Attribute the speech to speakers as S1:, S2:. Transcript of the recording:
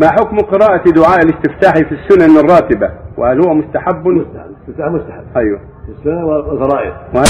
S1: ما حكم قراءة دعاء الاستفتاح في السنن الراتبة؟ وهل هو مستحب؟
S2: مستحب الاستفتاح مستحب
S1: ايوه
S2: في السنه والفرائض
S1: وهل